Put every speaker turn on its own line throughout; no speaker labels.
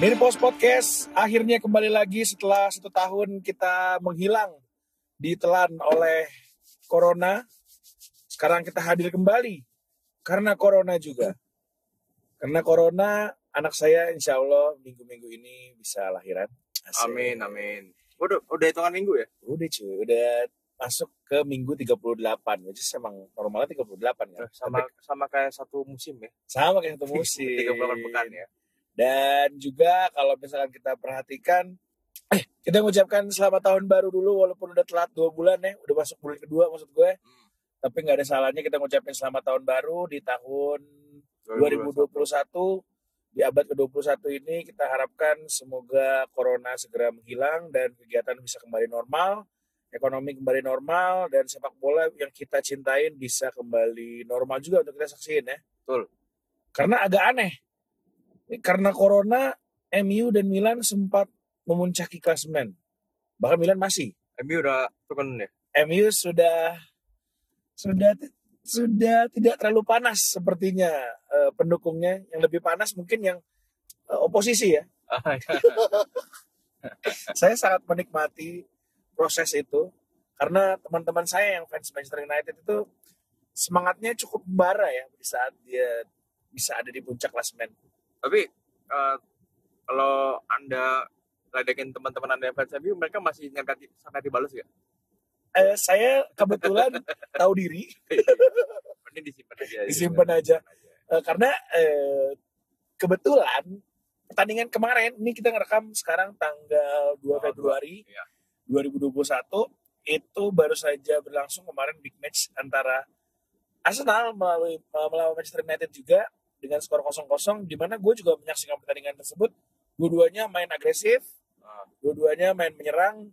Dari Pos Podcast akhirnya kembali lagi setelah satu tahun kita menghilang ditelan oleh Corona. Sekarang kita hadir kembali karena Corona juga. Karena Corona anak saya insya Allah minggu-minggu ini bisa lahiran. Asik.
Amin, amin. Udah, udah hitungan minggu ya?
Udah cuy, udah masuk ke minggu 38. Which is emang normalnya 38 kan?
Sama sama kayak satu musim ya?
Sama kayak satu musim.
Tiga bulan pekan ya?
Dan juga kalau misalkan kita perhatikan, eh kita mengucapkan selamat tahun baru dulu walaupun udah telat dua bulan ya, udah masuk bulan kedua maksud gue.
Hmm.
Tapi nggak ada salahnya kita mengucapkan selamat tahun baru di tahun 2021 di abad ke-21 ini kita harapkan semoga corona segera menghilang dan kegiatan bisa kembali normal, ekonomi kembali normal dan sepak bola yang kita cintain bisa kembali normal juga untuk kita saksiin ya.
Betul.
Karena agak aneh. Karena corona MU dan Milan sempat memuncaki klasemen. Bahkan Milan masih.
MU udah turun ya?
MU sudah sudah sudah tidak terlalu panas sepertinya eh, pendukungnya yang lebih panas mungkin yang eh, oposisi ya saya sangat menikmati proses itu karena teman-teman saya yang fans Manchester United itu semangatnya cukup membara ya di saat dia bisa ada di puncak klasemen
Tapi eh, kalau anda ledekin teman-teman anda yang fans MU, mereka masih nyangka di- sangka dibalas ya?
Eh, saya kebetulan tahu diri
Mending disimpan aja. ya.
Disimpan aja. Eh, karena eh, kebetulan pertandingan kemarin ini kita ngerekam sekarang tanggal 2
Tanggal
Februari
iya.
2021 itu baru saja berlangsung kemarin big match antara Arsenal melalui eh, melawan Manchester United juga dengan skor 0-0 di mana gue juga menyaksikan pertandingan tersebut dua-duanya main agresif
Ah.
dua-duanya main menyerang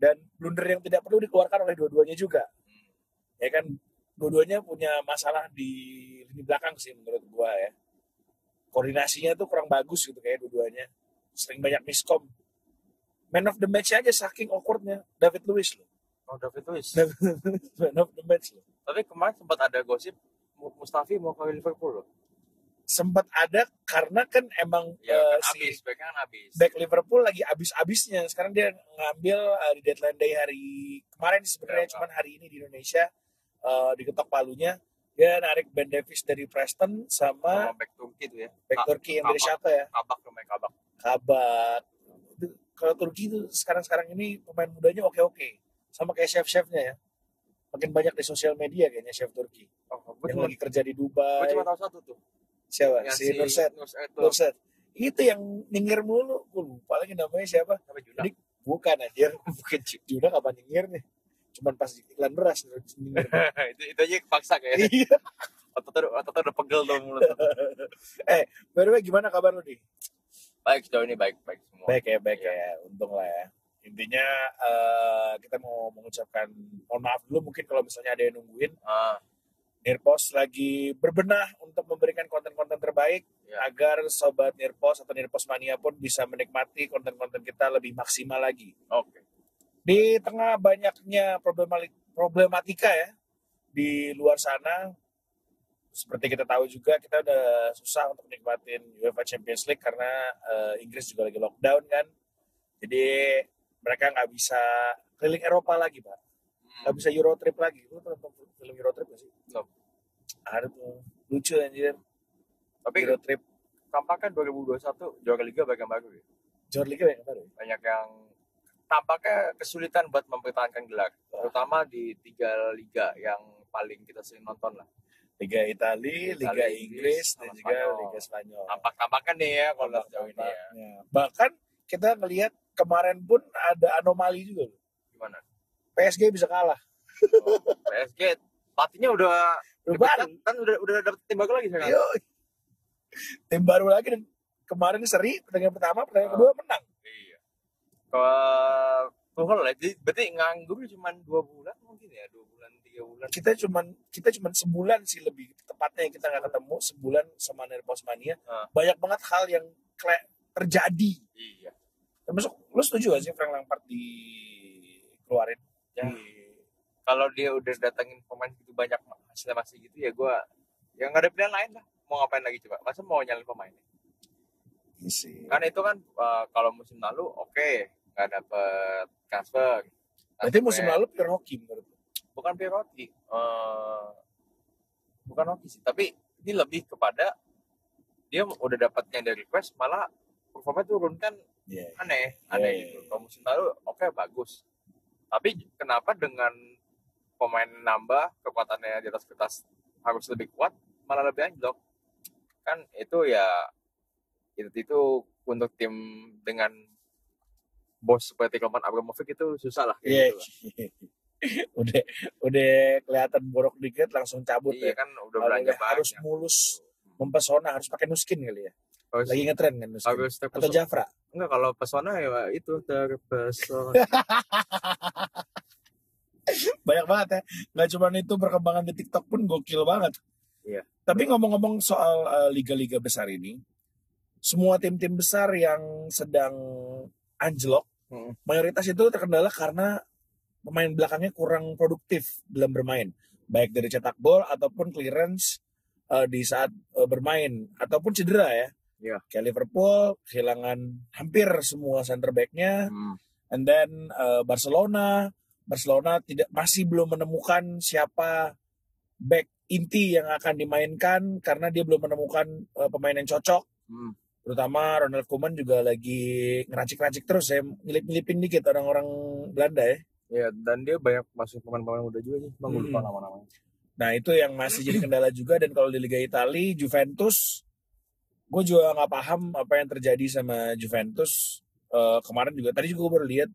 dan blunder yang tidak perlu dikeluarkan oleh dua-duanya juga
Hmm.
ya kan dua-duanya punya masalah di lini belakang sih menurut gua ya koordinasinya tuh kurang bagus gitu kayak dua-duanya sering banyak miskom man of the match aja saking awkwardnya David Luiz loh
Oh, David Luiz.
David- man of the match loh
Tapi kemarin sempat ada gosip Mu- Mustafi mau ke Liverpool loh.
sempat ada karena kan emang
Ya,
eh, si
kan habis, backnya kan habis.
back Liverpool lagi abis-abisnya sekarang dia ngambil eh, di deadline day hari kemarin sih sebenarnya
Ya,
cuman hari ini di Indonesia eh, diketok palunya dia narik Ben Davis dari Preston sama
Sama back Turki itu ya.
back
Ka-
Turki yang dari
Kabak.
siapa ya
Kabak namanya kabak.
kabar Itu- kalau Turki itu sekarang-sekarang ini pemain mudanya oke-oke sama kayak chef-chefnya ya makin banyak di sosial media kayaknya chef Turki
Oh, gue
yang
cuma,
lagi kerja di
gue
Dubai
cuma tahu satu tuh.
siapa
Yang
si Nurset
Iya Nurset tuh.
Nurset itu yang nyengir mulu gue lupa lagi namanya siapa
Apa Juna?
Jadi- bukan anjir
Bukan Ju-
Juna kapan nyengir nih cuman pas iklan beras nyengir
itu, itu aja kepaksa kayaknya.
Iya.
Ototnya, udah- ototnya udah pegel tuh mulut.
eh by the way, gimana kabar lu nih
baik sejauh ini baik baik semua.
baik ya baik ya untung lah ya intinya eh, kita mau mengucapkan mohon maaf dulu mungkin kalau misalnya ada yang nungguin
Ah,
Nirpos lagi berbenah untuk memberikan konten-konten terbaik
Ya.
agar sobat Nirpos atau Nirpos mania pun bisa menikmati konten-konten kita lebih maksimal lagi.
oke.
Di tengah banyaknya problemali- problematika ya di luar sana seperti kita tahu juga kita udah susah untuk nikmatin UEFA Champions League karena eh, Inggris juga lagi lockdown kan. Jadi mereka nggak bisa keliling Eropa lagi, Pak nggak
Hmm.
bisa Euro Trip lagi. Lu pernah nonton film Euro Trip gak sih?
Belum.
Ada tuh. Lucu anjir.
Tapi
Euro Trip.
tampaknya 2021 juara liga bagian baru ya.
John Liga yang kemarin.
Banyak yang tampaknya kesulitan buat mempertahankan gelar, terutama di tiga liga yang paling kita sering nonton lah.
Liga Itali,
Itali,
Liga Inggris,
Inggris,
dan
sama
juga
Spanyol.
Liga Spanyol.
Tampak-tampakan nih ya kalau sejauh ini ya.
Tampaknya. Bahkan kita ngelihat kemarin pun ada anomali juga. loh.
Gimana?
PSG bisa kalah.
Oh, PSG pelatihnya udah
Baru.
kan udah udah dapet tim bagus lagi sekarang.
Yoi. Tim baru lagi dan kemarin seri pertandingan pertama, pertandingan
Ah.
kedua menang.
Iya. Kalau Tuchel lah, jadi berarti nganggur cuma dua bulan mungkin ya, dua bulan tiga bulan.
Nah, Kita cuman kita cuman sebulan sih lebih tepatnya kita nggak ketemu sebulan sama Nerpos Mania.
Ah.
Banyak banget hal yang kle- terjadi
Iya.
Termasuk lu setuju gak sih Frank Lampard dikeluarin?
Ya.
Di...
Kalau dia udah datangin pemain gitu banyak hasilnya masih gitu ya gue, ya nggak ada pilihan lain lah. Mau ngapain lagi coba? Masa mau nyalin pemainnya?
Isi.
Kan itu kan eh, kalau musim lalu oke nggak dapet Kasper.
Berarti musim lalu pure hoki menurut lu.
bukan Piroti, eh bukan Rocky sih, tapi ini lebih kepada dia udah dapatnya dari request malah performa turun kan
Iya.
aneh, aneh
iya, iya.
gitu. Kalau musim lalu oke bagus, tapi kenapa dengan pemain nambah kekuatannya di atas kertas harus lebih kuat malah lebih anjlok? Kan itu ya itu, itu untuk tim dengan bos seperti Roman Abramovich itu susah lah.
Iya.
kayak gitu lah.
udah udah kelihatan borok dikit langsung cabut ya.
Iya kan udah
Kalau
belanja
nggak harus
banyak.
mulus, mempesona, harus pakai nuskin kali ya.
Harus-
Lagi ngetren kan nuskin.
Agus
Atau
terpesona.
Jafra.
Enggak kalau pesona ya itu terpesona.
Banyak banget ya. Nggak cuma itu perkembangan di TikTok pun gokil banget.
Iya.
Tapi ngomong-ngomong soal eh, liga-liga besar ini, semua tim-tim besar yang sedang anjlok,
Hmm.
mayoritas itu terkendala karena pemain belakangnya kurang produktif dalam bermain, baik dari cetak gol ataupun clearance eh, di saat eh, bermain ataupun cedera ya.
Iya.
Kayak Liverpool kehilangan hampir semua center back-nya.
Hmm.
And then uh, Barcelona, Barcelona tidak masih belum menemukan siapa back inti yang akan dimainkan karena dia belum menemukan uh, pemain yang cocok.
Hmm.
Terutama Ronald Koeman juga lagi ngeracik-racik terus ya, ngilip-ngilipin dikit orang-orang Belanda ya.
Ya dan dia banyak masuk pemain-pemain muda juga sih. Bang gue lupa
Hmm.
nama-namanya.
Nah itu yang masih jadi kendala juga dan kalau di Liga Italia Juventus, gue juga nggak paham apa yang terjadi sama Juventus Eh, kemarin juga. Tadi juga gue baru lihat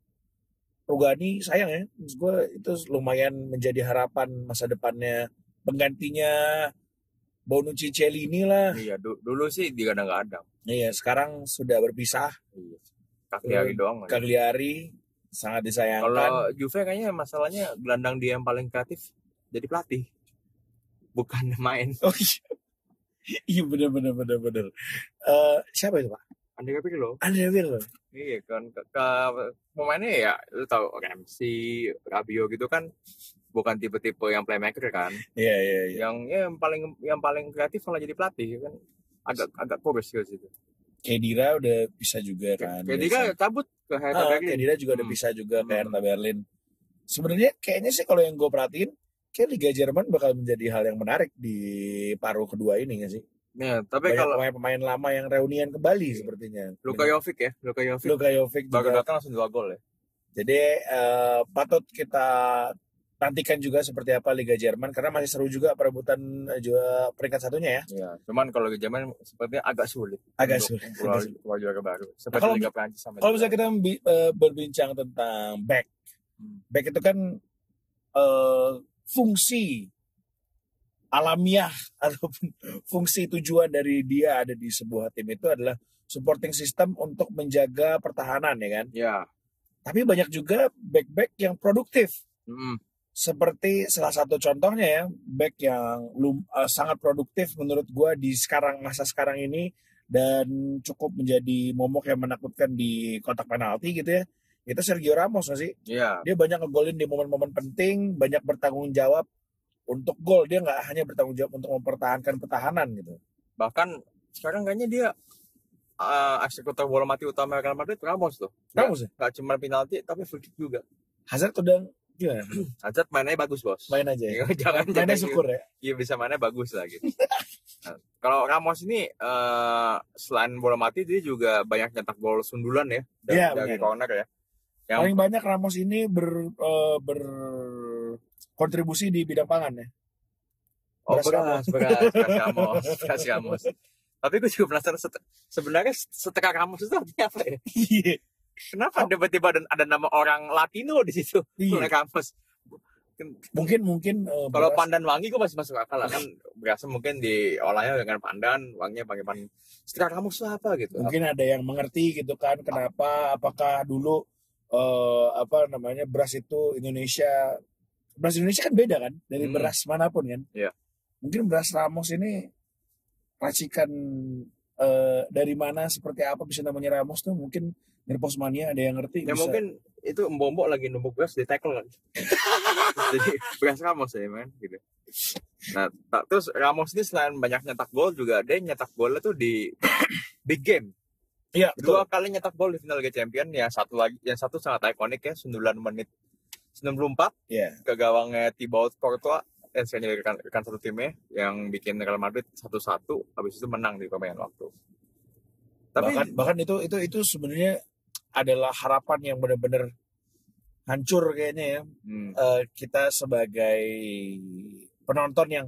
Rugani sayang ya, gue itu lumayan menjadi harapan masa depannya penggantinya Bonucci Cellini lah.
Iya du- dulu sih digadang-gadang.
Iya sekarang sudah berpisah
Iya. Kaki hari
Hmm.
doang. aja.
Cagliari sangat disayangkan.
Kalau Juve kayaknya masalahnya gelandang dia yang paling kreatif jadi pelatih. Bukan main.
Oh iya, iya bener bener bener bener. Eh, siapa itu pak?
Andrea Pirlo.
Andre Will.
Iya kan ke, ke- pemainnya ya lu tahu Ramsey, Rabio gitu kan bukan tipe-tipe yang playmaker kan.
Iya iya iya.
yang ya, yang paling yang paling kreatif malah jadi pelatih kan agak agak kurus gitu situ.
Kedira udah bisa juga kan.
Jadi kan cabut ke Hertha
Ah,
Berlin.
Kedira juga udah
Hmm.
bisa juga ke
Hmm.
Hertha Berlin. Sebenarnya kayaknya sih kalau yang gue perhatiin, kayak Liga Jerman bakal menjadi hal yang menarik di paruh kedua ini nggak sih?
Nah, tapi
Banyak
kalau Iya.
pemain-pemain lama yang reunian kembali sepertinya.
Luka Jovic ya, Luka Jovic
Luka Jovic
baru
juga.
datang langsung dua gol ya.
Jadi eh, patut kita nantikan juga seperti apa Liga Jerman karena masih seru juga perebutan eh, juga peringkat satunya ya.
Iya, cuman kalau di Jerman sepertinya agak sulit.
Agak
untuk
sulit.
Keluar, keluar juara baru. Seperti
kalau-
Liga Prancis sama
Kalau
Liga
misalnya kita bi- eh, berbincang tentang back,
Hmm.
back itu kan eh, fungsi alamiah ataupun fungsi tujuan dari dia ada di sebuah tim itu adalah supporting system untuk menjaga pertahanan ya kan.
Iya.
Tapi banyak juga back-back yang produktif
Mm-mm.
seperti salah satu contohnya ya back yang lum- eh, sangat produktif menurut gua di sekarang masa sekarang ini dan cukup menjadi momok yang menakutkan di kotak penalti gitu ya itu Sergio Ramos nggak sih
Iya.
dia banyak ngegolin di momen-momen penting banyak bertanggung jawab untuk gol dia nggak hanya bertanggung jawab untuk mempertahankan pertahanan gitu
Bahkan sekarang kayaknya dia eh, eksekutor bola mati utama Real Madrid Ramos tuh.
Ramos ya
Gak cuma penalti tapi free kick juga.
Hazard udah gila
Hazard mainnya bagus, Bos. Iya,
main aja ya
Jangan
mainnya
jangan-
syukur ya
Iya bisa mainnya bagus lah gitu. Nah, kalau Ramos ini eh, selain bola mati dia juga banyak nyetak gol sundulan ya dari,
Iya,
dari
benar.
corner ya. Yang
paling banyak Ramos ini ber eh, berkontribusi di bidang pangan ya
oh
beras
beras beras beras Ramos beras Ramos. Tapi gue juga penasaran set- sebenarnya setengah Ramos itu artinya apa ya?
Iya.
Kenapa tiba-tiba ada, ada nama orang Latino di situ?
Iya.
Oleh Ramos.
Mungkin mungkin eh,
Kalau
beras-
pandan wangi gue masih masuk akal lah kan berasa mungkin diolahnya dengan pandan wanginya pakai pandan. Setengah Ramos itu apa gitu?
mungkin ada yang mengerti gitu kan kenapa apakah dulu eh, apa namanya beras itu Indonesia beras Indonesia kan beda kan dari
Hmm.
beras manapun kan.
Iya.
Mungkin beras Ramos ini racikan eh, dari mana seperti apa bisa namanya Ramos tuh mungkin dari Posmania ada yang ngerti
Ya
bisa.
mungkin itu Mbombo lagi numpuk beras di tackle kan. Jadi beras Ramos ya men gitu. Nah, ta- terus Ramos ini selain banyak nyetak gol juga dia nyetak golnya tuh di big game.
Iya,
dua
betul.
kali nyetak gol di final Liga Champion ya satu lagi yang satu sangat ikonik ya sundulan menit 94
Iya.
ke gawangnya Thibaut Courtois eh senior rekan, rekan satu timnya yang bikin Real Madrid satu-satu habis itu menang di pemain waktu tapi
bahkan bahkan itu itu itu sebenarnya adalah harapan yang benar-benar hancur kayaknya ya.
hmm,
Eh, kita sebagai penonton yang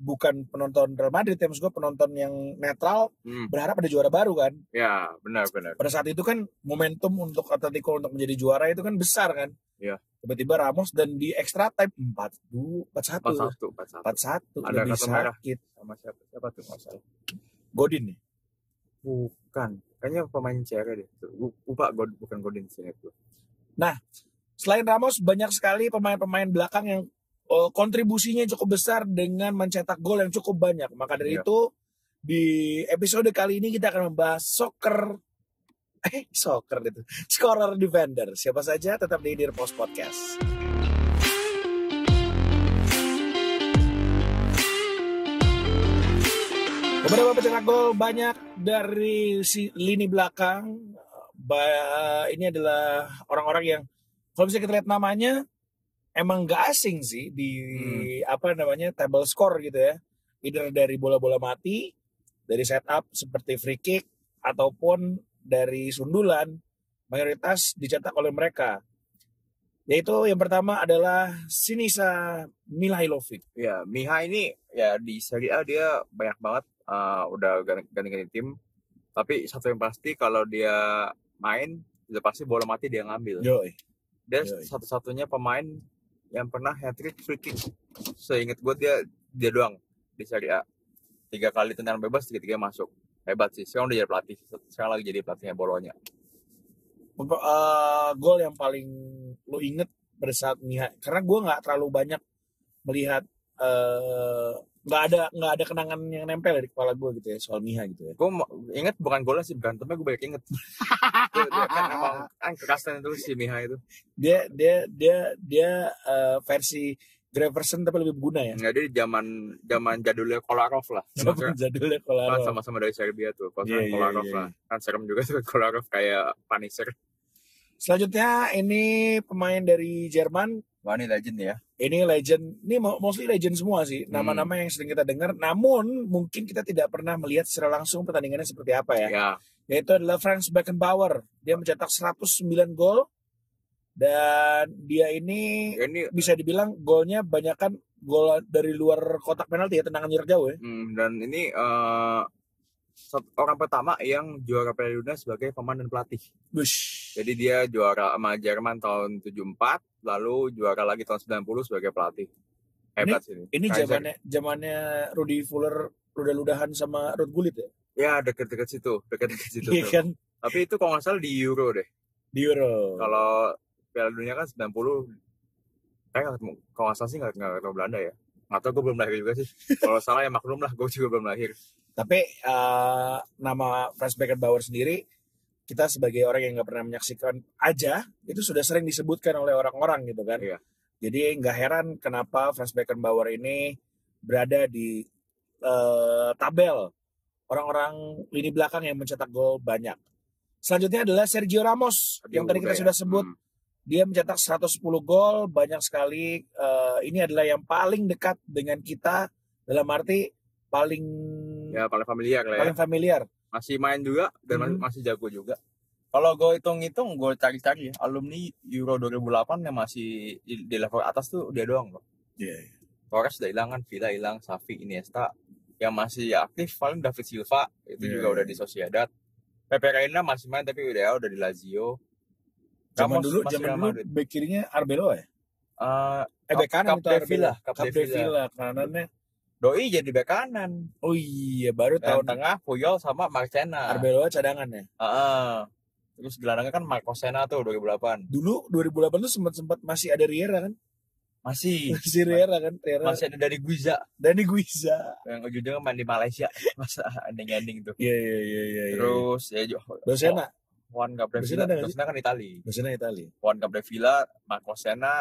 bukan penonton Real Madrid, ya, maksud gue penonton yang netral
hmm,
berharap ada juara baru kan.
ya benar-benar
Pada saat itu kan momentum untuk Atletico untuk menjadi juara itu kan besar kan.
Iya.
Tiba-tiba Ramos dan di extra time 4-2, 4-1. 4-1
41 41 Ada
lebih
kartu merah.
sakit.
sama siapa siapa tuh masalah
Godin ya? nih.
bukan kayaknya pemain Cere deh Gu- lupa God, bukan Godin sih itu
Selain Ramos banyak sekali pemain-pemain belakang yang eh, kontribusinya cukup besar dengan mencetak gol yang cukup banyak. Maka dari
Iya.
itu di episode kali ini kita akan membahas soccer eh soccer itu. Scorer defender. Siapa saja tetap di Dear Post Podcast. Beberapa pencetak gol banyak dari si lini belakang. Ba- ini adalah orang-orang yang kalau bisa kita lihat namanya emang gak asing sih di apa namanya table score gitu ya. Either dari bola-bola mati, dari setup seperti free kick ataupun dari sundulan mayoritas dicetak oleh mereka. Yaitu yang pertama adalah Sinisa Mihailovic.
ya Miha ini ya di Serie A dia banyak banget eh, udah gan- ganti-ganti tim tapi satu yang pasti kalau dia main udah pasti bola mati dia ngambil
Joy.
dia
Yoi.
satu-satunya pemain yang pernah hat trick free kick seingat gue dia dia doang di Serie A tiga kali tendangan bebas tiga tiga masuk hebat sih sekarang udah jadi pelatih sekarang lagi jadi pelatihnya Bolonya
Pem- eh, gol yang paling lu inget pada saat Miha karena gue nggak terlalu banyak melihat eh, nggak ada nggak ada kenangan yang nempel di kepala gue gitu ya soal Miha gitu ya
gue inget bukan golnya sih berantemnya gue banyak inget dia, dia kan emang kan kekasihan itu si Miha itu
dia dia dia dia eh, versi Graverson tapi lebih berguna ya
nggak dia di zaman zaman jadulnya Kolarov lah
zaman jadulnya kalau
kan
ada-
sama-sama dari Serbia tuh
Oh,
kalau
Iya,
sekarang
iya,
Kolarov
iya,
lah kan serem juga tuh Kolarov kayak Paniser
selanjutnya ini pemain dari Jerman
wah ini legend ya
ini legend, ini mo- mostly legend semua sih, nama-nama yang sering kita dengar. Namun mungkin kita tidak pernah melihat secara langsung pertandingannya seperti apa ya.
ya
Yaitu adalah Franz Beckenbauer. Dia mencetak 109 gol dan dia ini
Ya, ini
bisa dibilang golnya banyakkan gol dari luar kotak penalti ya, tendangan jarak jauh ya.
Hmm, dan ini eh, sat- orang pertama yang juara Piala Dunia sebagai pemain dan pelatih.
Bush.
Jadi dia juara sama Jerman tahun 74, lalu juara lagi tahun 90 sebagai pelatih. Hebat sini.
ini
Kaiser.
zamannya zamannya Rudy Fuller ludah-ludahan sama Ruth Gullit ya.
Ya deket-deket situ, deket-deket situ.
Iya
tuh.
kan?
Tapi itu kalau nggak salah di Euro deh.
Di Euro.
Kalau Piala Dunia kan 90, saya nggak ketemu. Kalau nggak salah sih nggak nggak ketemu Belanda ya. Nggak tahu gue belum lahir juga sih. Kalau salah ya maklum lah, gue juga belum lahir.
Tapi eh, nama Franz Beckenbauer sendiri kita sebagai orang yang nggak pernah menyaksikan aja itu sudah sering disebutkan oleh orang-orang gitu kan.
Iya.
Jadi nggak heran kenapa Franz Beckenbauer ini berada di eh, tabel orang-orang lini belakang yang mencetak gol banyak. Selanjutnya adalah Sergio Ramos
Tapi
yang tadi
udah
kita
ya.
sudah sebut
Hmm.
dia mencetak 110 gol banyak sekali Eh, ini adalah yang paling dekat dengan kita dalam arti paling
Ya paling familiar lah ya.
paling familiar.
masih main juga
Mhm.
dan masih- masih jago juga. Kalau gue hitung-hitung, gue cari-cari ya, alumni Euro 2008 yang masih di, di level atas tuh dia doang loh.
Iya.
Torres udah hilang kan, Villa hilang, Xavi, Iniesta. Yang masih aktif paling David Silva, itu
Iya,
juga
iya.
udah di Sociedad. Pepe Reina masih main tapi udah udah di Lazio.
Zaman
Ramos
dulu,
masih
zaman
Real
dulu
Madrid.
bek kirinya Arbelo ya?
Eh,
Eh
Cap-
bek kanan
Cap
itu
de
Arbelo.
Villa, Cap
Cap
de
de
Villa.
Villa kanannya.
Doi jadi bek kanan.
Oh iya, baru
Dan
tahun ya.
tengah Puyol sama Marcena.
Arbelo cadangannya.
Heeh. Terus gelandangnya kan Marco Sena tuh 2008.
Dulu 2008 tuh sempat sempat masih ada Riera kan?
Masih
Masih Riera kan? Riera
masih ada dari Guiza
Dani Guiza.
yang ujungnya main di Malaysia masa ending-ending tuh
Iya iya iya iya. iya.
terus ya Jo-
Bersena,
Juan Gabriel
Bersena
Villa
ada nggak
Bersena kan Itali
Bersena Italia.
Juan Gabriel Villa Marco Senna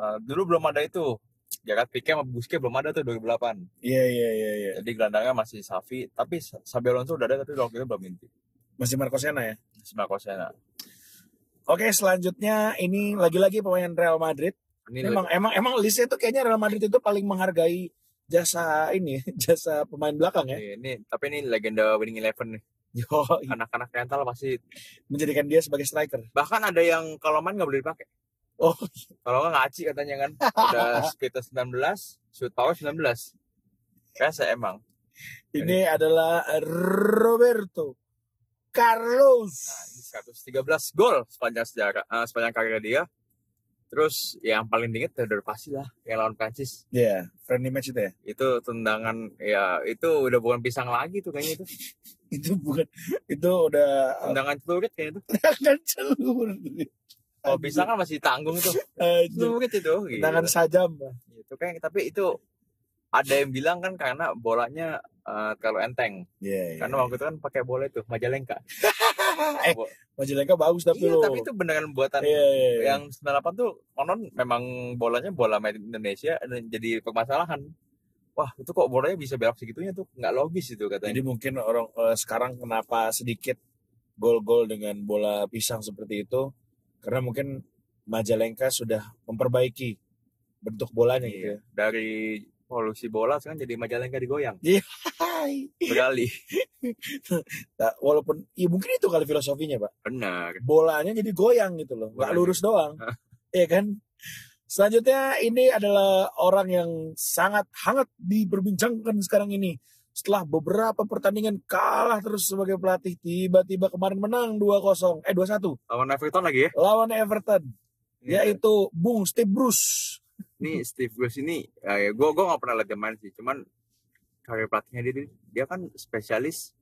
eh, dulu belum ada itu Jagat Pique sama Busquets belum ada tuh 2008
Iya iya iya iya.
jadi gelandangnya masih Safi tapi Sa- Xabi Alonso udah ada tapi waktu itu belum inti
Masih Marco Sena ya.
Marco Sena.
Oke, selanjutnya ini lagi-lagi pemain Real Madrid.
Ini
Memang emang emang listnya itu kayaknya Real Madrid itu paling menghargai jasa ini, jasa pemain belakang ya.
Iya, ini tapi ini legenda winning eleven nih.
Yo,
Anak-anak rental pasti
menjadikan dia sebagai striker.
bahkan ada yang kalau main nggak boleh dipakai.
Oh.
Kalau nggak ngaci katanya kan. Udah speednya 19, shoot power 19. Biasa emang.
Ini adalah Roberto Carlos.
Nah, ini 113 gol sepanjang sejarah eh, sepanjang karir dia. Terus ya, yang paling dingin udah pasti lah yang lawan Prancis.
Ya, friendly match itu ya.
Itu tendangan ya itu udah bukan pisang lagi tuh kayaknya itu.
Itu bukan itu udah
Tendangan celurit kayaknya itu.
tangan celur.
Kalau pisang kan masih tanggung tuh.
Anjir.
Celurit itu. gitu.
Tangan sajam.
gitu kan tapi itu ada yang bilang kan karena bolanya eh, terlalu enteng
Iya.
karena waktu itu kan pakai bola itu majalengka
eh,
Bo-
Majalengka bagus tapi lo.
iya tapi itu beneran buatan
Iya, iya, iya.
yang 98 tuh konon memang bolanya bola main Indonesia dan jadi permasalahan wah itu kok bolanya bisa belok segitunya tuh nggak logis itu
Jadi
katanya
mungkin orang eh, sekarang kenapa sedikit gol-gol dengan bola pisang seperti itu karena mungkin Majalengka sudah memperbaiki bentuk bolanya gitu ya.
Iya. dari polusi bola sekarang jadi majalengka digoyang
Hai.
bergali
Nah, walaupun ya mungkin itu kali filosofinya, Pak.
benar
Bolanya jadi goyang gitu loh, nggak
Bolanya.
lurus doang. Iya kan? Selanjutnya ini adalah orang yang sangat hangat diperbincangkan sekarang ini. Setelah beberapa pertandingan kalah terus sebagai pelatih, tiba-tiba kemarin menang 2-0, eh 2-1
lawan Everton lagi ya
lawan Everton,
Iya.
yaitu Bung Steve Bruce.
ini Steve Bruce ini eh, gue gue nggak pernah lihat dia main sih cuman karir pelatihnya dia dia kan spesialis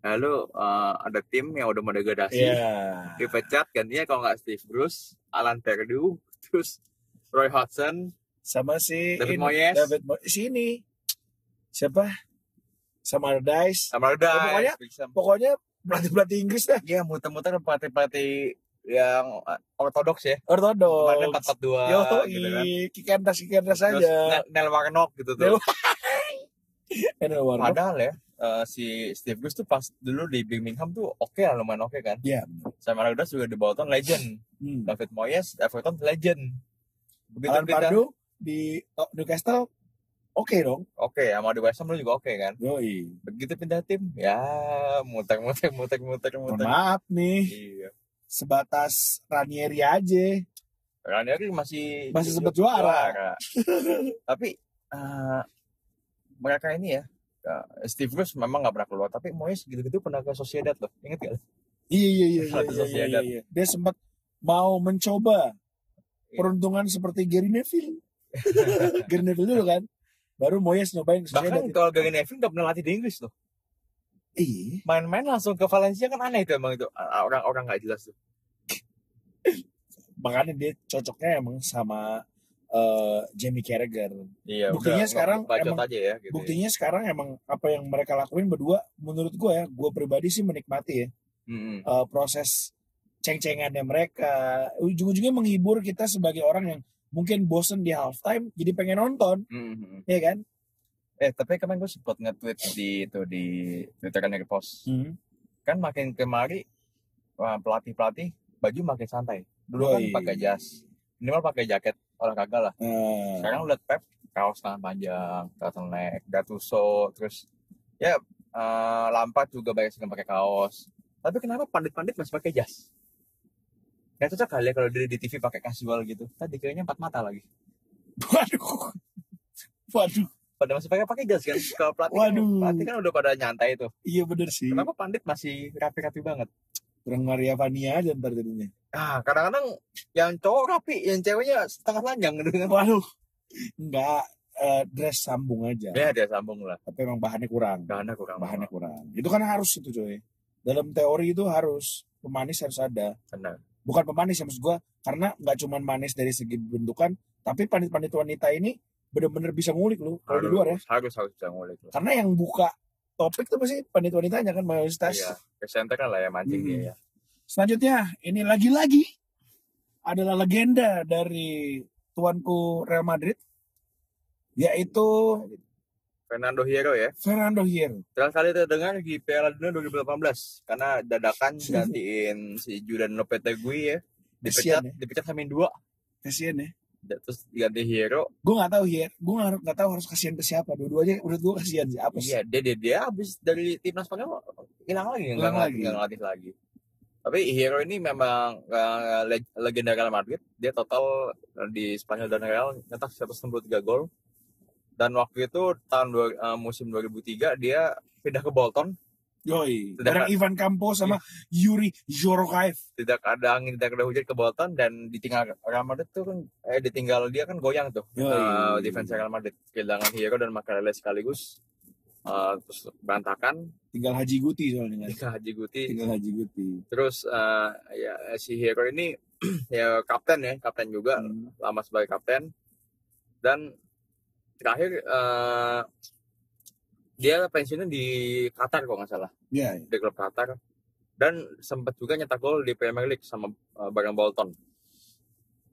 lalu eh, ada tim yang udah mau degradasi
Iya.
dipecat gantinya kalau nggak Steve Bruce Alan Pardew terus Roy Hodgson
Sama si
David
ini,
Moyes.
David Moyes. Si ini. Siapa? Sama Dice.
sama ya,
Pokoknya-
udah Wixham.
Pokoknya pelatih-pelatih Inggris dah.
ya muter-muter pelatih-pelatih yang eh, ortodoks ya kemarin
Ortodok.
empat empat dua
Yo,
gitu kan
kikendas kikendas
terus
aja.
Nel, Nel Warnock gitu tuh
Nel- Enel Warnock.
Padahal ya eh, si Steve Bruce tuh pas dulu di Birmingham tuh oke lah lumayan oke kan.
Iya,
Sama Raudas juga di Bolton legend.
Hmm.
David Moyes Everton legend. Begitu
Alan
kita
Pardew di oh, Newcastle oke dong.
oke sama di West Ham lu juga oke kan.
Yoi.
Begitu pindah tim ya muter muter muter muter
Mohon
muter.
maaf nih,
Iya.
sebatas Ranieri aja.
Ranieri masih
Masih sempat juara. Ah,
Tapi eh, mereka ini ya eh, Steve Bruce memang nggak pernah keluar, tapi Moyes gitu-gitu pernah ke Sociedad loh, inget gak?
Iya iya iya. iya,
Satu
iya, iya,
Sociedad.
iya. Dia sempat mau mencoba
Iya.
peruntungan seperti Gary Neville. Gary Neville dulu kan. Baru Moyes nyobain ke Sociedad.
Bahkan kalau Gary Neville nggak pernah latih di Inggris loh,
Iya.
main-main langsung ke Valencia kan aneh itu emang itu orang-orang nggak jelas tuh.
Makanya dia cocoknya emang sama eh, Jamie Carragher.
Iya.
Buktinya
nggak-
sekarang
bacot
emang-
aja ya. Gitu.
Buktinya sekarang emang apa yang mereka lakuin berdua menurut gue ya, gue pribadi sih menikmati ya
Mm-mm.
eh, proses ceng-cengannya mereka. Ujung-ujungnya menghibur kita sebagai orang yang mungkin bosen di halftime jadi pengen nonton,
Mm-mm.
ya kan?
Eh tapi kemarin gue sempat nge-tweet di itu di Twitter kan post. Kan makin kemari wah, pelatih-pelatih baju makin santai. Dulu kan
Yoi.
pakai jas, minimal pakai jaket olahraga lah.
Eh,
Sekarang lihat Pep kaos tangan panjang, turtleneck, Gattuso, terus ya eh, Lampard juga banyak sering pakai kaos. Tapi kenapa pandit-pandit masih pakai jas? Gak cocok kali ya kalau dia di TV pakai casual gitu. Tadi kayaknya empat mata lagi.
waduh, waduh,
Pada masih pakai pakai jas kan? Kalau pelatih, kan-
Waduh.
pelatih kan udah pada nyantai tuh.
iya bener sih.
Kenapa pandit masih rapi-rapi banget?
Kurang Maria Vania aja ntar jadinya.
Ah, kadang-kadang yang cowok rapi, yang ceweknya setengah telanjang gitu kan.
Waduh, enggak eh, dress sambung aja.
Ya, dia sambung lah.
Tapi emang bahannya kurang.
Gak ada kurang
Bahannya kurang. Itu kan harus itu coy. Dalam teori itu harus pemanis harus ada.
Benar.
Bukan pemanis ya maksud gua karena nggak cuman manis dari segi bentukan, tapi panit-panit wanita ini bener-bener bisa ngulik lu kalau di luar ya.
Harus, harus, harus bisa ngulik. lah.
Karena yang buka topik tuh pasti panit wanitanya kan mayoritas.
Iya, presenter kan lah ya mancing
Hmm.
dia ya.
Selanjutnya, ini lagi-lagi adalah legenda dari tuanku Real Madrid, yaitu
Fernando Hierro ya.
Fernando Hierro.
Terakhir kali terdengar di Piala Dunia 2018 karena dadakan gantiin si Julian Lopetegui ya. Dipecat,
Kasian ya.
dipecat sama dua.
Kasian ya.
Da- Terus ganti Hero.
Gue gak tahu Hierro. Gue gak, gak tahu harus kasihan ke siapa. Dua-duanya menurut gue kasihan sih. Apa sih?
Iya, dia dia dia habis dari timnas Spanyol hilang
Hilang
lagi, hilang lagi,
lagi.
nggak ngelatih lagi. Tapi Hero ini memang uh, leg- legenda Real Madrid. Dia total eh, di Spanyol dan Real nyetak 163 gol. Dan waktu itu tahun dua- uh, musim 2003 dia pindah ke Bolton
Yoi.
Sudah
Bareng
kan?
Ivan Campos sama Yuri Jorokaev.
tidak ada angin tidak ada hujan ke Bolton dan ditinggal Real Madrid tuh kan eh ditinggal dia kan goyang tuh
Yoi.
Eh, defense Real Madrid kehilangan Hero dan Makarele sekaligus Eh, terus berantakan
Tinggal Haji Guti soalnya. kan?
Ika Haji Guti
Tinggal Haji Guti.
terus eh, ya si Hero ini ya kapten ya kapten juga
Hmm.
lama sebagai kapten dan terakhir eh, dia pensiunnya di Qatar kalau nggak salah
Iya. iya.
di klub Qatar dan sempat juga nyetak gol di Premier League sama uh, Barang Bolton.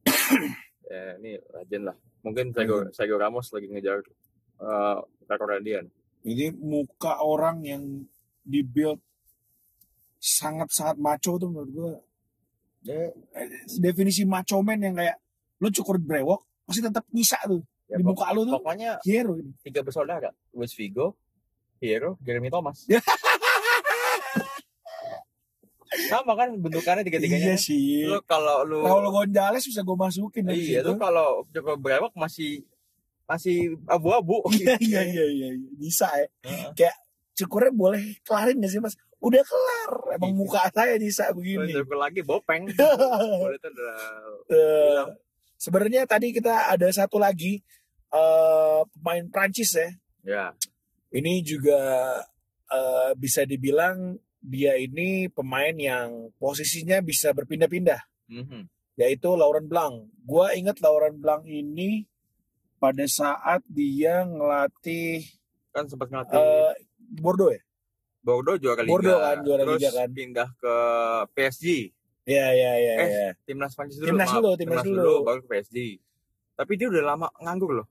ya, ini legend lah. Mungkin Sergio, Sergio Ramos lagi ngejar uh, rekornya dia.
Jadi muka orang yang di build sangat-sangat maco tuh menurut gue.
Ya,
Definisi maco man yang kayak lu cukur brewok pasti tetap nyisa tuh
ya,
di
pok-
muka lu tuh.
pokoknya
Hero ini.
tiga bersaudara, Luis Figo, Hero, Jeremy Thomas. Sama kan bentukannya
Iya
tiga-tiganya.
sih.
Lu kalau lu
Raul Gonzalez bisa gue masukin dari
Iya,
situ.
lu kalau coba berewok masih masih abu-abu.
Iya iya iya iya iya. bisa ya.
Heeh.
Kayak cukurnya boleh kelarin gak sih mas? Udah kelar. Emang
Iya.
muka saya bisa begini.
Terus lagi bopeng. Kalau itu udah Iya.
Eh, Sebenarnya tadi kita ada satu lagi eh pemain Prancis ya.
ya
Ini juga eh, bisa dibilang dia ini pemain yang posisinya bisa berpindah-pindah.
Mhm.
Yaitu Laurent Blanc. Gua inget Laurent Blanc ini pada saat dia ngelatih
kan sempat ngelatih
eh, Bordeaux ya.
Bordeaux juara Liga.
Bordeaux kan juara
Terus
Liga kan.
pindah ke PSG.
Iya iya iya.
Eh,
iya.
Timnas Prancis dulu.
Timnas
maaf.
dulu, timnas dulu.
baru ke PSG. Tapi dia udah lama nganggur loh.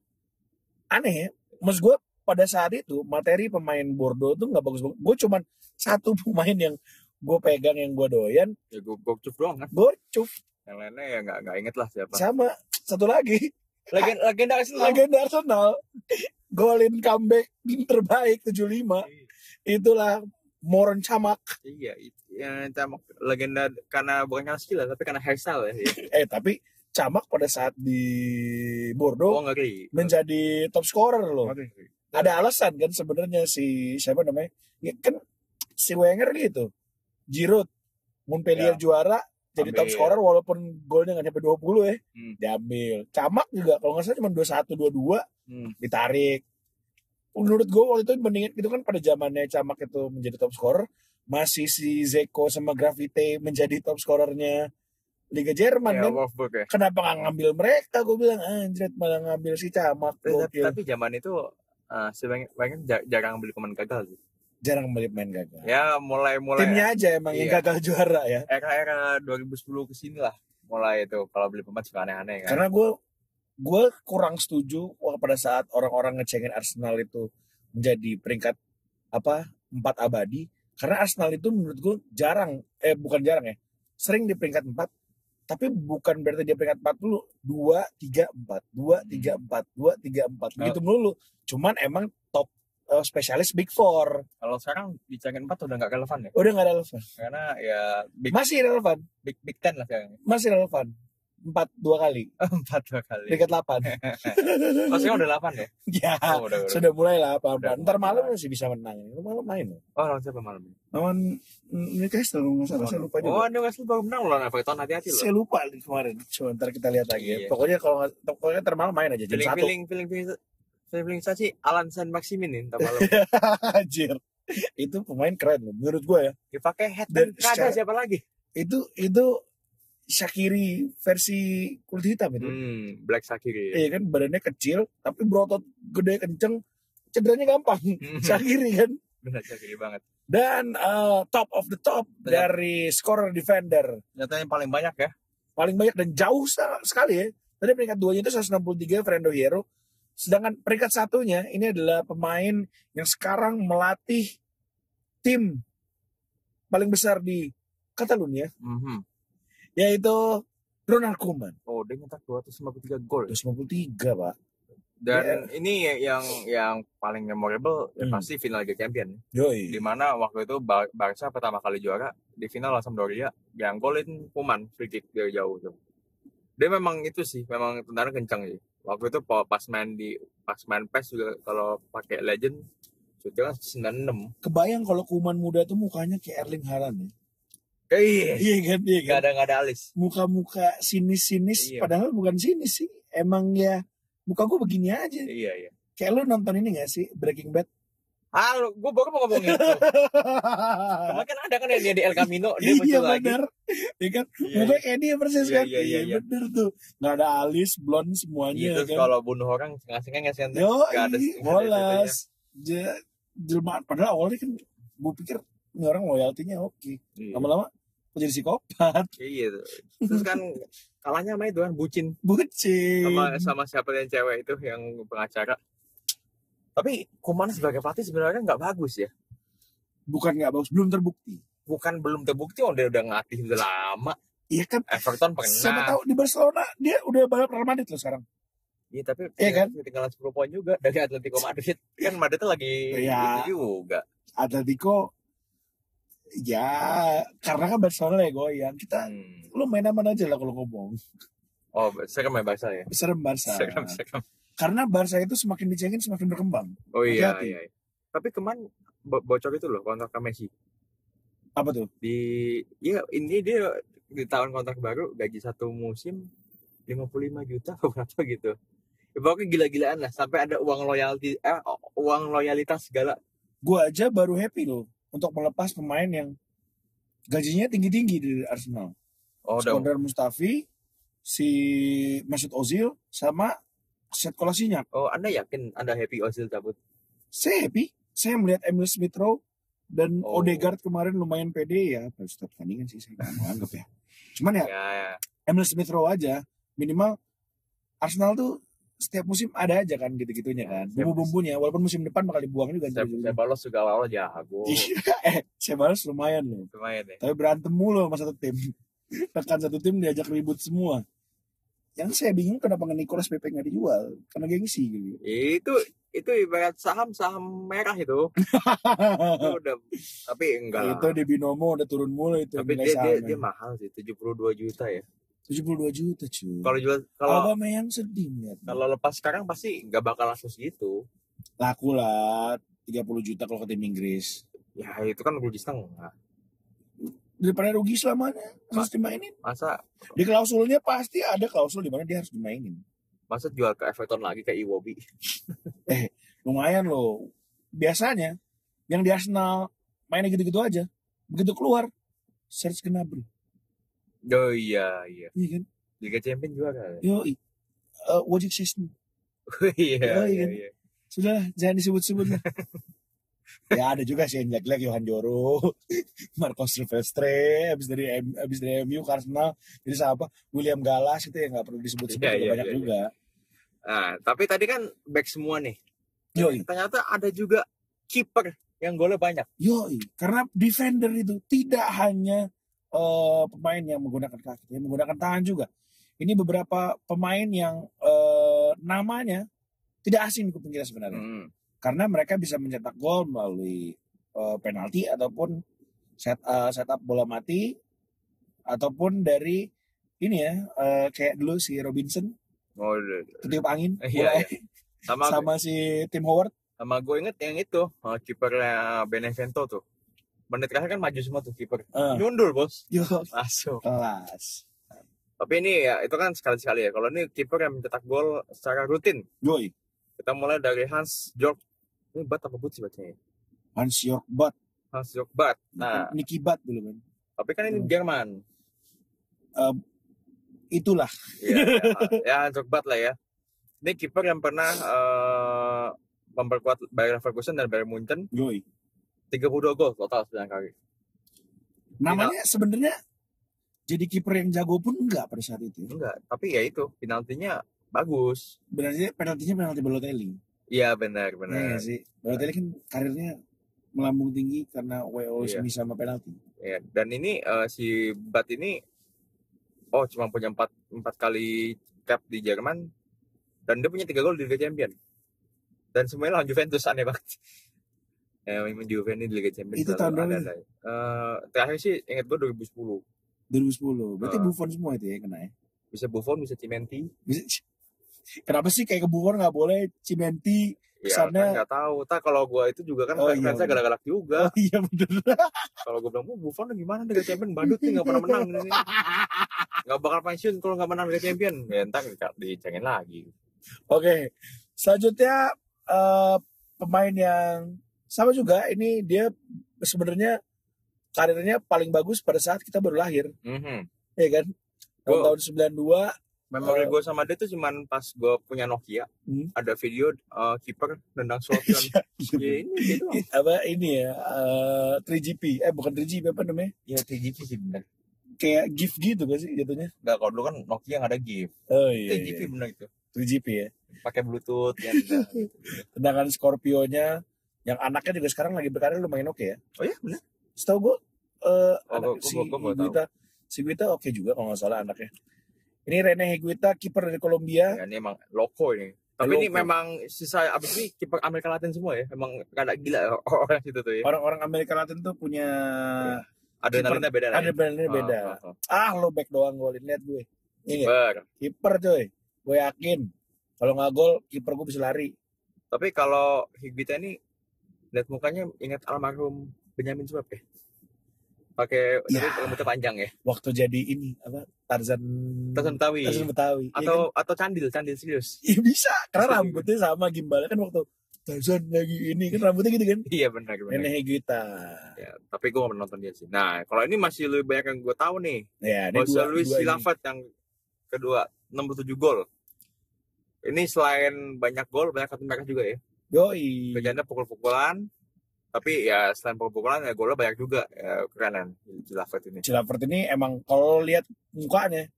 aneh ya. Mas gue pada saat itu materi pemain Bordeaux tuh nggak bagus banget. Gue cuman satu pemain yang gue pegang yang gue doyan,
Ya gue gocuf doang kan.
Gorcuf
Yang lainnya ya nggak nggak inget lah siapa.
sama satu lagi
Legenda legenda Arsenal.
legenda Arsenal golin comeback terbaik 75 itulah Moren Camak
Iya, itu yang tamak- legenda karena bukan karena skill lah, tapi karena hairstyle ya.
eh tapi Camak pada saat di
Oh
Bordeaux
ngeri.
menjadi top scorer loh
Ngeri.
ada alasan kan sebenarnya si siapa namanya ya kan si Wenger gitu Giroud Montpellier
Ya.
juara jadi
Ambil.
top scorer walaupun golnya nggak nyampe 20 ya
Hmm.
diambil Camak juga kalau nggak salah cuma 21
Hmm.
22 ditarik menurut gue waktu itu mendingan itu kan pada zamannya Camak itu menjadi top scorer masih si Zeko sama Gravite menjadi top scorernya Liga Jerman
Ya,
kan
Wolfsburg ya.
kenapa nggak ngambil mereka gue bilang anjir malah ngambil si Camak
Tapi, tapi-
gokil
tapi zaman itu eh si Wenger- Wenger jar- jarang beli pemain gagal sih.
jarang beli main gagal
Ya mulai mulai
timnya aja emang yang
Iya.
gagal juara ya.
era-era 2010 ke sini lah mulai itu kalau beli pemain suka aneh-aneh kan.
Karena gue gue kurang setuju wah, pada saat orang-orang ngecengin Arsenal itu menjadi peringkat apa empat abadi. Karena Arsenal itu menurut gue jarang eh bukan jarang ya sering di peringkat empat tapi bukan berarti dia peringkat empat dulu dua tiga empat dua
Hmm.
tiga empat dua tiga empat gitu melulu cuman emang top eh, spesialis big four
Kalau sekarang di Cangin 4 udah nggak relevan ya.
udah nggak relevan
Karena ya big
masih relevan
big big ten lah sekarang.
masih relevan empat dua kali
Empat dua kali.
peringkat delapan
Oh sekarang udah 8 ya.
ya
Oh udah udah.
sudah mulai lah apa
Sudah
apa ntar
mulai.
malam masih bisa menang ini malam main loh
Oh lawan siapa malam ini?
lawan mm, Newcastle kalau nggak salah saya lupa
Oh
juga
Newcastle baru menang lawan Everton hati-hati loh.
saya lupa nih kemarin cuma ntar kita lihat lagi ya
Iya.
pokoknya kalau nggak- pokoknya ntar malam main aja jam
Feeling
satu
feeling feeling feeling feeling feeling saya sih Alan San Maximin nih entar malam.
anjir itu pemain keren loh menurut gue ya
Dipakai
Dan
headband kada
secara-
siapa lagi?
itu itu Shakiri versi kulit hitam itu
Hmm, Black Sakiri.
iya kan badannya kecil tapi berotot gede kenceng cederanya gampang Shakiri kan
Benar Sakiri Hmm, banget.
dan eh, top of the top
Ternyata-
dari scorer defender
Ternyata yang paling banyak ya.
paling banyak dan jauh sa- sekali ya. Tadi peringkat duanya itu 163 Fernando Hierro, Sedangkan peringkat satunya ini adalah pemain yang sekarang melatih tim paling besar di Catalunya,
Mhm.
yaitu Ronald Koeman.
Oh, dia nyetak 253 gol.
253, Pak.
Dan ini yang yang paling memorable ya
Hmm.
pasti final Liga Champion.
Yoi.
Di mana waktu itu Bar- Barca pertama kali juara di final lawan Sampdoria yang golin Kuman free kick dari jauh tuh. Dia memang itu sih, memang tendangan kencang sih. Waktu itu pa- pas main di pas main PES juga kalau pakai legend syutingnya 96.
Kebayang kalau Koeman muda tuh mukanya kayak Erling Haaland ya.
Eh,
Iya kan, iya
nggak
kan.
ada nggak ada alis.
Muka-muka sinis-sinis,
Iya.
padahal bukan sinis sih. Emang ya, muka gue begini aja.
Iya, iya.
Kayak lu nonton ini gak sih, Breaking Bad?
Halo, gue baru mau ngomong itu. Kemarin kan ada kan yang dia di El Camino, dia
iya
muncul lagi.
benar. Iya kan?
Iya,
Mukanya kayak dia persis
Iya,
kan?
iya, iya, iya.
bener tuh. Gak ada alis, blonde semuanya
Gitu
kan. Iya.
kalau bunuh orang sengaja ngasih
Yo,
nggak ada- nggak ada iya.
bolas. Je- Jelmaan. Padahal awalnya kan gue pikir ini orang loyaltinya oke. Lama-lama kok jadi psikopat.
Iya tuh. Iya. Terus kan kalahnya sama itu kan bucin
Bucin.
sama sama siapa yang cewek itu yang pengacara. Tapi Kuman sebagai pelatih sebenarnya nggak bagus ya.
Bukan gak bagus, belum terbukti.
Bukan belum terbukti oh dia udah ngelatih udah lama.
Iya kan?
Everton
Siapa
pernah.
tahu di Barcelona dia udah balap Real Madrid loh sekarang.
Iya tapi
Iya kan?
ketinggalan 10 poin juga dari Atletico Madrid. Kan Madrid tuh lagi
Iya.
itu juga.
Atletico ya karena kan Barcelona ya goyang. Kita
Hmm.
lu main aman aja lah kalau ngomong.
Oh, serem ya bahasa ya.
Serem Barca.
Serem, serem.
Karena Barca itu semakin dicengin semakin berkembang.
Oh iya,
Hati-hati.
iya. iya. Tapi kemarin bo- bocor itu loh kontrak sama Messi.
Apa tuh?
di ya ini dia di tahun kontrak baru gaji satu musim 55 juta atau berapa gitu ya, pokoknya gila-gilaan lah sampai ada uang loyalty eh, uang loyalitas segala
Gua aja baru happy loh untuk melepas pemain yang gajinya tinggi-tinggi dari Arsenal.
oh
Skondar Mustafi, si Mesut Ozil sama Set Kolasinac.
oh anda yakin anda happy Ozil cabut
Saya happy. Saya melihat Emil Smith Rowe dan
Oh.
Odegaard kemarin lumayan pede ya. Pada setiap pertandingan sih saya nggak mau anggap ya. Cuman ya
ya, ya.
Emil Smith Rowe aja minimal Arsenal tuh setiap musim ada aja kan gitu-gitunya kan.
Siap.
Bumbu-bumbunya walaupun musim depan bakal dibuang juga.
saya, saya balas juga awal-awal jago
Iya, eh, saya balas lumayan loh.
lumayan ya
Tapi berantem mulu sama satu tim. Tekan satu tim diajak ribut semua. Yang saya bingung kenapa nge Nicolas Pepe nggak dijual karena gengsi gitu.
Ya, itu itu ibarat saham saham merah itu itu udah tapi enggak
Ya,
lah.
itu di binomo udah turun mulu itu
tapi
nilai ya.
dia, dia
sahamnya.
dia mahal sih 72 juta ya
72 juta cuy.
kalau jual kalau
Kalau yang sedih lihat.
kalau lepas sekarang pasti nggak bakal langsung segitu
Laku lah 30 juta kalau ke tim Inggris.
Ya itu kan rugi setengah.
Daripada rugi selamanya harus dimainin.
Masa
Di klausulnya pasti ada klausul di mana dia harus dimainin.
masa jual ke Everton lagi ke Iwobi?
Lumayan loh. Biasanya yang di Arsenal mainnya gitu-gitu aja. Begitu keluar Serge Gnabry,
Oh iya iya.
iya kan?
Liga Champion juara.
Yo, uh, Wojciech Szczesny.
iya,
Oh, iya.
iya iya.
Sudah, jangan disebut-sebut lah. ya ada juga sih yang jelek-jelek Johan Joro, Marco Silvestre, habis dari M- habis dari MU ke Arsenal, jadi siapa? William Galas itu ya nggak perlu disebut-sebut
Iya,
juga
iya,
banyak
iya,
juga.
Nah, tapi tadi kan back semua nih.
Yoi,
Ternyata ada juga kiper yang golnya banyak.
yoi. Karena defender itu tidak hanya eh, pemain yang menggunakan kaki, yang menggunakan tangan juga. Ini beberapa pemain yang eh, namanya tidak asing di kuping kita sebenarnya.
Hmm.
karena mereka bisa mencetak gol melalui eh, penalti ataupun set eh, setup bola mati ataupun dari ini ya eh, kayak dulu si Robinson
Oh, iya, iya.
ketiup angin
Eh,
bola
iya, iya. Sama
sama
sama,
si Tim Howard
gue inget yang itu eh, kipernya Benevento tuh. Menit terakhir kan maju semua tuh kiper.
Eh,
Nyundul, Bos.
yo
Masuk.
kelas
Tapi ini ya itu kan sekali-sekali ya. Kalau ini kiper yang mencetak gol secara rutin.
Joy
Kita mulai dari Hans Jorg. Ini bat apa but sih bacanya? ya?
Hans York Bat
Hans Jorg Bat. Nah,
Nicky Bat dulu kan
tapi kan ini
Hmm.
Jerman.
itulah
Ya, ya, ya Hans Jorg Bat lah ya. Ini kiper yang pernah eh, memperkuat Bayer Leverkusen dan Bayern Munchen.
Joy
32 gol total 9 kali.
namanya
Iya.
sebenarnya jadi kiper yang jago pun enggak pada saat itu
Enggak, tapi ya itu penaltinya bagus.
Berarti penaltinya penalti Balotelli.
Iya benar
Iya
benar.
nggak sih. Balotelli kan karirnya melambung tinggi karena WO
Iya.
semi sama penalti.
Ya, dan ini eh, si Bat ini oh cuma punya empat empat kali cap di Jerman dan dia punya tiga gol di Liga Champion dan semuanya lawan Juventus aneh banget eh memang Juventus ini di Liga Champion
Itu
selalu
tahun berapa
ada-ada. Eh, terakhir sih ingat gue 2010
2010. Berarti
Ah.
Buffon semua itu ya yang kena ya.
bisa Buffon bisa Cimenti
Bisa- Kenapa sih kayak ke Buffon nggak boleh Cimenti?
ya
Kesannya-
kan nggak tahu tak kalau gue itu juga kan
Oh,
fans
iya,
fansnya
bener.
galak-galak juga
Oh iya bener.
kalau gue bilang oh, Buffon gimana Liga Champion badut nih nggak pernah menang ini nggak bakal pensiun kalau nggak menang Liga Champion ya entar dica- dicengin lagi
Oke, selanjutnya eh, pemain yang sama juga ini dia sebenarnya karirnya paling bagus pada saat kita baru lahir,
Mhm.
ya kan? Tahun, tahun eh, 92
Memori gue sama dia tuh cuman pas gue punya Nokia,
Hmm. Iya,
ada video uh, kiper nendang slot kan. ya ini dia doang.
apa ini ya eh, 3GP eh bukan 3GP apa namanya
Ya TGP sih bener.
kayak gift gitu gak sih jatuhnya
Enggak kalau dulu kan Nokia nggak ada GIF.
oh iya,
TGP
iya.
bener itu.
3GP ya
Pakai Bluetooth ya. bener.
tendangan Scorpio-nya yang anaknya juga sekarang lagi berkarir lumayan oke ya
oh iya bener.
setahu gue eh
Oh,
anak
gua-
si
gua- gua baru
Higuita si Higuita oke juga kalau nggak salah anaknya ini Rene Higuita kiper dari Kolombia
Ya, ini emang loko ini. Tapi ini
Loko.
memang sisa abis ini kiper Amerika Latin semua ya. Emang kada gila orang situ tuh ya.
orang-orang Amerika Latin tuh punya
Iya. Adrenalinnya beda lah. ya.
ada brandnya beda
Oh, oh, oh.
ah lo back doang golin lihat gue Iya. ini
Kiper.
kiper coy gue yakin kalau nggak gol kiper gue bisa lari
Tapi kalau Higuita ini lihat mukanya ingat almarhum Benyamin Sueb ya. Pakai
Ya.
tapi rambutnya panjang ya.
waktu jadi ini apa Tarzan
Tarzan Betawi.
Tarzan Betawi Iya
atau atau candil, candil serius.
kan? ya bisa karena rambutnya sama gimbalnya kan waktu Tarzan lagi ini kan rambutnya gitu kan
Iya benar benar.
Nenek Higuita
Ya, tapi gue gak pernah nonton dia sih. Nah, kalau ini masih lebih banyak yang gue tahu nih.
ya ini
Jose
dua,
Luis
dua ini.
Hilafat yang kedua, 67 gol. Ini selain banyak gol, banyak kartu merah juga ya.
Yoi.
Kerjanya pukul-pukulan. Tapi ya selain pukul-pukulan ya golnya banyak juga. Ya, kerenan Hilafat ini.
Cilapert ini emang kalau lihat mukanya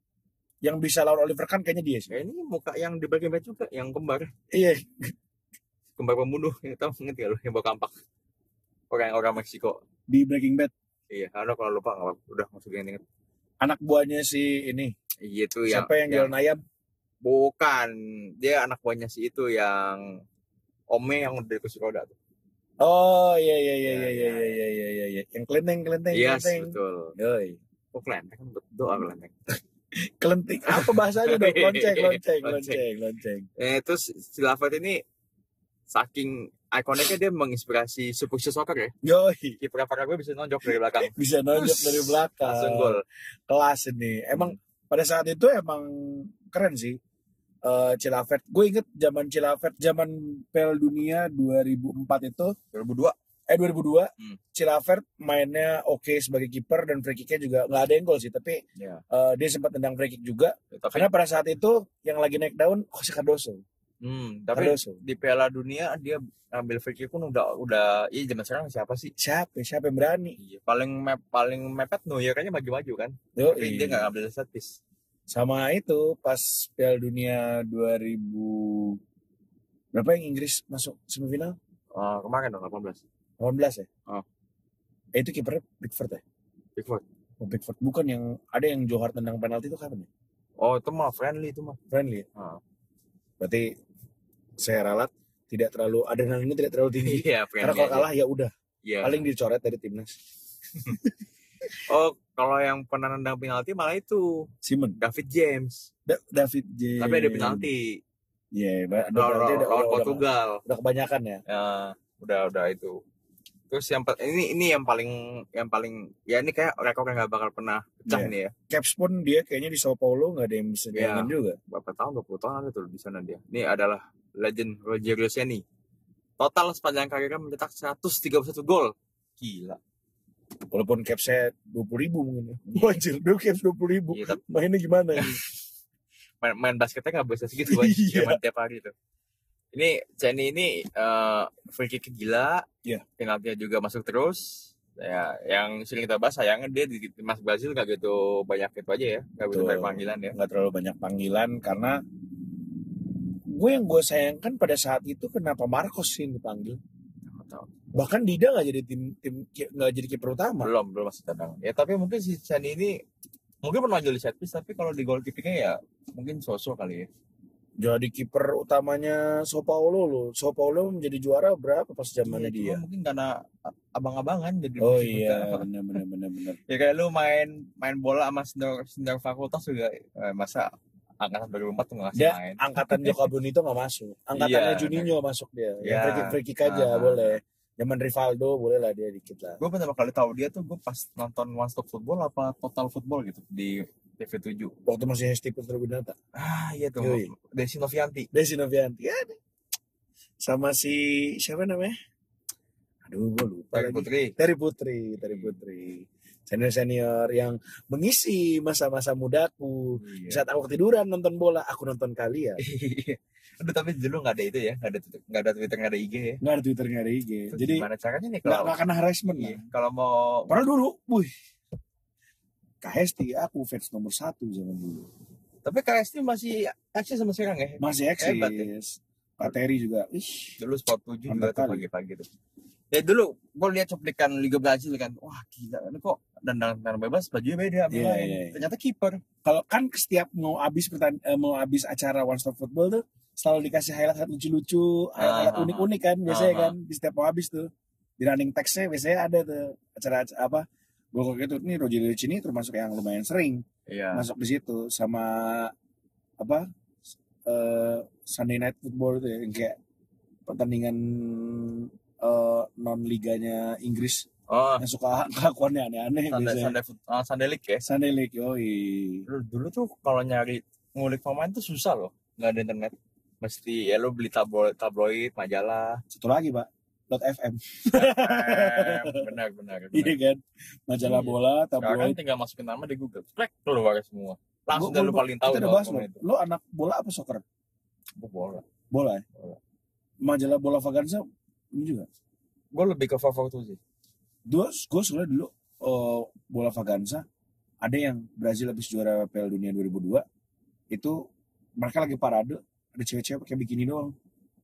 yang bisa lawan Oliver Kahn kayaknya dia sih.
Ya, ini muka yang di bagian bawah juga yang kembar.
Iya,
kembar pembunuh ya tau inget gak lu yang bawa kampak orang orang Meksiko
di Breaking Bad
iya ada kalau lupa nggak apa-apa. udah masukin inget
anak buahnya si ini.
iya itu yang,
Siapa yang jualan ayam?
bukan dia anak buahnya si itu yang Ome yang udah di kursi roda tuh.
Oh, iya iya iya iya iya
Ya, ya,
iya iya iya iya. Yang kelenteng kelenteng
Yes,
kelenteng.
Iya, betul.
Yoi.
Kok kelenteng? Berdoa kelenteng.
Kelenting apa bahasanya dong? Lonceng, lonceng, lonceng, lonceng.
Eh, terus si Lafert ini saking ikoniknya dia menginspirasi Supukse Soccer ya.
Yoi,
Kiper Paraguay bisa nonjok dari belakang.
bisa nonjok
Terus,
dari belakang.
Langsung gol. Hmm.
Kelas ini. Emang pada saat itu emang keren sih. Eh Cilavet, gue inget zaman Cilavet, zaman Piala Dunia 2004 itu,
2002.
eh 2002,
Hmm.
Cilavet mainnya oke sebagai kiper dan free kicknya juga nggak ada yang gol sih, tapi
Ya.
eh, dia sempat tendang free kick juga.
Tapi,
Karena pada saat itu yang lagi naik daun Jose Cardoso.
hmm, tapi
Cardoso.
di Piala Dunia dia ambil free kick pun udah udah iya zaman sekarang siapa sih?
Siapa? Siapa yang berani?
Iya, paling mep, paling mepet Neuer kayaknya maju-maju kan. Tapi
Yoi.
dia nggak ambil set piece.
Sama itu pas Piala Dunia 2000 berapa yang Inggris masuk semifinal?
Eh, kemarin dong 18.
18 ya?
Oh.
Eh, itu kipernya Pickford ya?
Pickford.
Oh, Pickford. Bukan yang ada yang Johar tendang penalti itu kapan ya?
Oh, itu mah friendly itu mah.
Friendly. ya?
Oh.
Berarti saya ralat tidak terlalu adrenalinnya tidak terlalu tinggi. Karena
Iya, friendly.
kalau
aja.
kalah ya udah,
Iya.
paling dicoret dari timnas.
Oh, kalau yang pernah nendang penalti malah itu
Simon,
David James.
Da- David J.
Tapi ada penalti.
Iya, ba- iya, ada
Lawan,
penalti udah,
lawan
udah, udah,
Portugal.
udah kebanyakan ya.
Ya, udah udah itu. Terus yang pe- ini ini yang paling yang paling ya ini kayak rekor yang nggak bakal pernah pecah
Iya.
nih ya.
Caps pun dia kayaknya di Sao Paulo nggak ada yang bisa
Iya.
nyangin juga.
berapa tahun 20 tahun ada tuh di sana dia ini adalah legend Rogerio Seni total sepanjang karirnya mencetak 131 gol gila
Walaupun cap saya 20 ribu mungkin ya. Wajir, dua caps 20 ribu.
Iya, tapi
Mainnya gimana ini?
main, main basketnya nggak bisa segitu kan
Iya.
Dia main tiap hari tuh ini Seni ini eh free kick gila
Iya.
penaltinya juga masuk terus ya yang sering kita bahas sayangnya dia di timnas Brazil nggak gitu banyak itu aja ya nggak bisa
Betul.
banyak panggilan ya
Nggak terlalu banyak panggilan karena gue yang gue sayangkan pada saat itu kenapa Marcos sih yang dipanggil
Nggak tahu.
bahkan Dida nggak jadi tim tim nggak jadi kiper utama
belum belum masih cadangan ya tapi mungkin si Chani ini mungkin pernah jadi set piece tapi kalau di goal kickingnya ya mungkin sosok kali ya
jadi kiper utamanya Sao Paulo loh Sao Paulo menjadi juara berapa pas zamannya
Iya, cuma
dia
mungkin karena a- abang-abangan jadi
oh
musik
iya
utama.
benar benar benar benar
ya kayak lu main main bola sama senior senior fakultas juga eh, masa angkatan 2004 tuh nggak kasih
Dia
main
angkatan Joko Bonito nggak masuk angkatannya
Iya,
Juninho masuk dia yang
Iya.
free kick free kick aja
Ah.
boleh zaman Rivaldo boleh lah dia dikit lah
gue pertama kali tahu dia tuh gue pas nonton One Stop Football apa Total Football gitu di TV 7
waktu masih Stephen Terbinata
ah iya tuh
Yoi.
Desi Novianti
Desi Novianti ya deh. sama si siapa namanya aduh gue lupa
Pagi
lagi
Putri
Terry Putri Terry Putri senior senior yang mengisi masa-masa mudaku
Iya.
saat aku ketiduran nonton bola aku nonton ya. kalian
Aduh tapi dulu nggak ada itu ya, nggak ada Twitter, nggak ada Twitter, nggak ada IG ya.
nggak ada Twitter nggak ada IG
Itu
jadi
gimana caranya nih
nggak
kalau
nggak kena harassment
iya,
lah
kalau mau
padahal dulu wih KHST aku fans nomor satu zaman dulu
tapi KST masih akses sama sekarang ya.
masih
Hebat ya.
eksis Pak Terry juga ih
Dulu sport 7 juga
Mantap
tuh
kali.
pagi-pagi tuh. Ya dulu gue lihat cuplikan Liga Brazil kan, wah gila ini kok dandang tangan bebas bajunya beda sama
Iya,
yang lain.
iya, iya.
Ternyata kiper.
kalau kan setiap mau habis pertan- eh, mau habis acara One Stop Football tuh selalu dikasih highlight lucu-lucu, highlight
Ah, ah,
unik-unik kan biasanya
Ah, ah.
kan di setiap mau habis tuh di running text-nya biasanya ada tuh acara, acara apa gue kok gitu nih Rogelio Cini termasuk yang lumayan sering
Iya.
masuk di situ sama apa eh, Sunday Night Football tuh ya, yang kayak pertandingan non liganya Inggris
Oh,
yang suka kelakuannya aneh-aneh
Sunday,
biasanya
Sunday, Foot- ah, Sunday League ya.
Sunday League yoi
Dulu, dulu tuh kalau nyari ngulik pemain tuh susah loh, nggak ada internet. Mesti ya lu beli tabloid, tabloid majalah.
satu lagi pak dot FM
Eh, benar, benar, benar.
Iya kan? Majalah
Iya.
bola,
Sekarang
tabloid.
tinggal masukin nama di Google, cek keluar semua.
Gua-
Langsung udah lu
gua-
paling tahu
Kita udah
dong
bahas
pemain
loh. Lo anak bola apa soccer?
Gua bola.
Bola ya?
Bola.
Majalah bola Vaganza ini juga.
Gue lebih ke favorit tuh sih.
Dua, gue sebenarnya dulu eh, bola Vaganza ada yang Brazil habis juara Piala Dunia 2002 itu mereka lagi parade ada cewek-cewek pakai bikini doang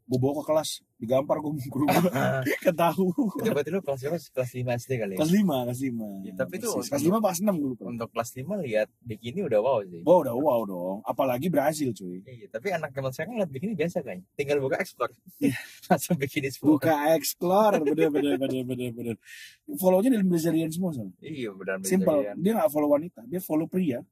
gue bawa ke kelas digampar gue mukul gue ketahu
Itu Ah, berarti lu kelas berapa? sih? Kelas 5 SD kali ya.
kelas lima kelas lima
Ya, tapi itu-
Persis. kelas lima pas enam gue lupa
Untuk kelas 5 lihat bikini udah wow sih.
wow udah wow dong apalagi Brazil cuy
Iya, tapi anak zaman sekarang lihat bikini biasa kan. Tinggal buka explore. Langsung bikini kan? semua.
Iya. buka explore bener bener bener bener bener follownya dari Brazilian semua soalnya
Iya, benar benar.
simple dia nggak follow wanita dia follow pria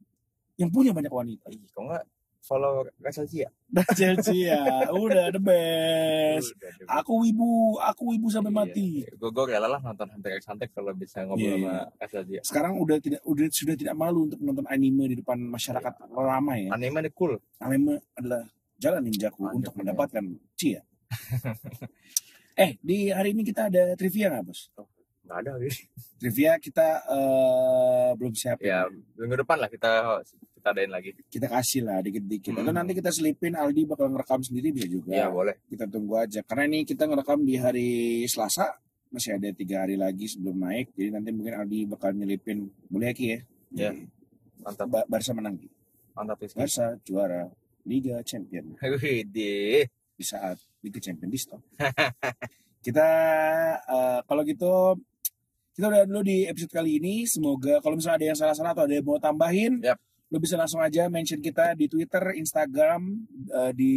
yang punya banyak wanita
Iya, kok enggak follow Rachel Cia?
dah Chelsea ya udah the best aku wibu aku wibu sampai mati
Gue gue Iya. rela lah nonton Hunter x Hunter kalau bisa ngobrol
Iya,
sama ya. Rachel Cia.
sekarang udah tidak udah sudah tidak malu untuk menonton anime di depan masyarakat ramai ya
Anime ini cool.
anime adalah jalan ninjaku
Mantap,
untuk
ya.
mendapatkan cia eh di hari ini kita ada trivia nggak bos
Enggak ada. Ris.
trivia kita eh, belum siapin
ya minggu depan lah kita kita adain lagi
kita kasih lah dikit-dikit. Atau
Hmm.
nanti kita selipin Aldi bakal ngerekam sendiri bisa juga.
ya boleh
Kita tunggu aja. Karena ini kita ngerekam di hari Selasa, masih ada tiga hari lagi sebelum naik. Jadi nanti mungkin Aldi bakal nyelipin. Boleh ya Ki ya?
Iya.
Jadi,
mantap
Ba- Barca menang. Ki.
mantap Rizky
Barca juara Liga Champion
Widih.
di saat Liga Champion di stop. kita eh, kalau gitu kita udah dulu di episode kali ini. Semoga kalau misalnya ada yang salah-salah atau ada yang mau tambahin,
Yap.
lo bisa langsung aja mention kita di Twitter, Instagram eh, di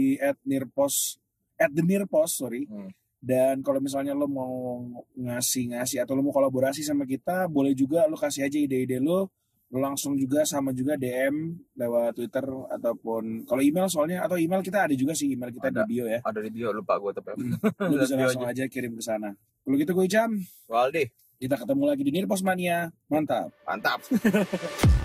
@nirpos at the nirpos sorry.
Hmm.
Dan kalau misalnya lo mau ngasih-ngasih atau lo mau kolaborasi sama kita, boleh juga lo kasih aja ide-ide lo. Lo langsung juga sama juga DM lewat Twitter ataupun kalau email soalnya atau email kita ada juga sih email kita
Ada.
di bio ya.
ada di bio lupa gue tapi
Lo bisa
Lihat bio
langsung aja kirim ke sana. Kalau gitu gue Ijam,
Waldi
kita ketemu lagi di Nirpos Mania. Mantap.
mantap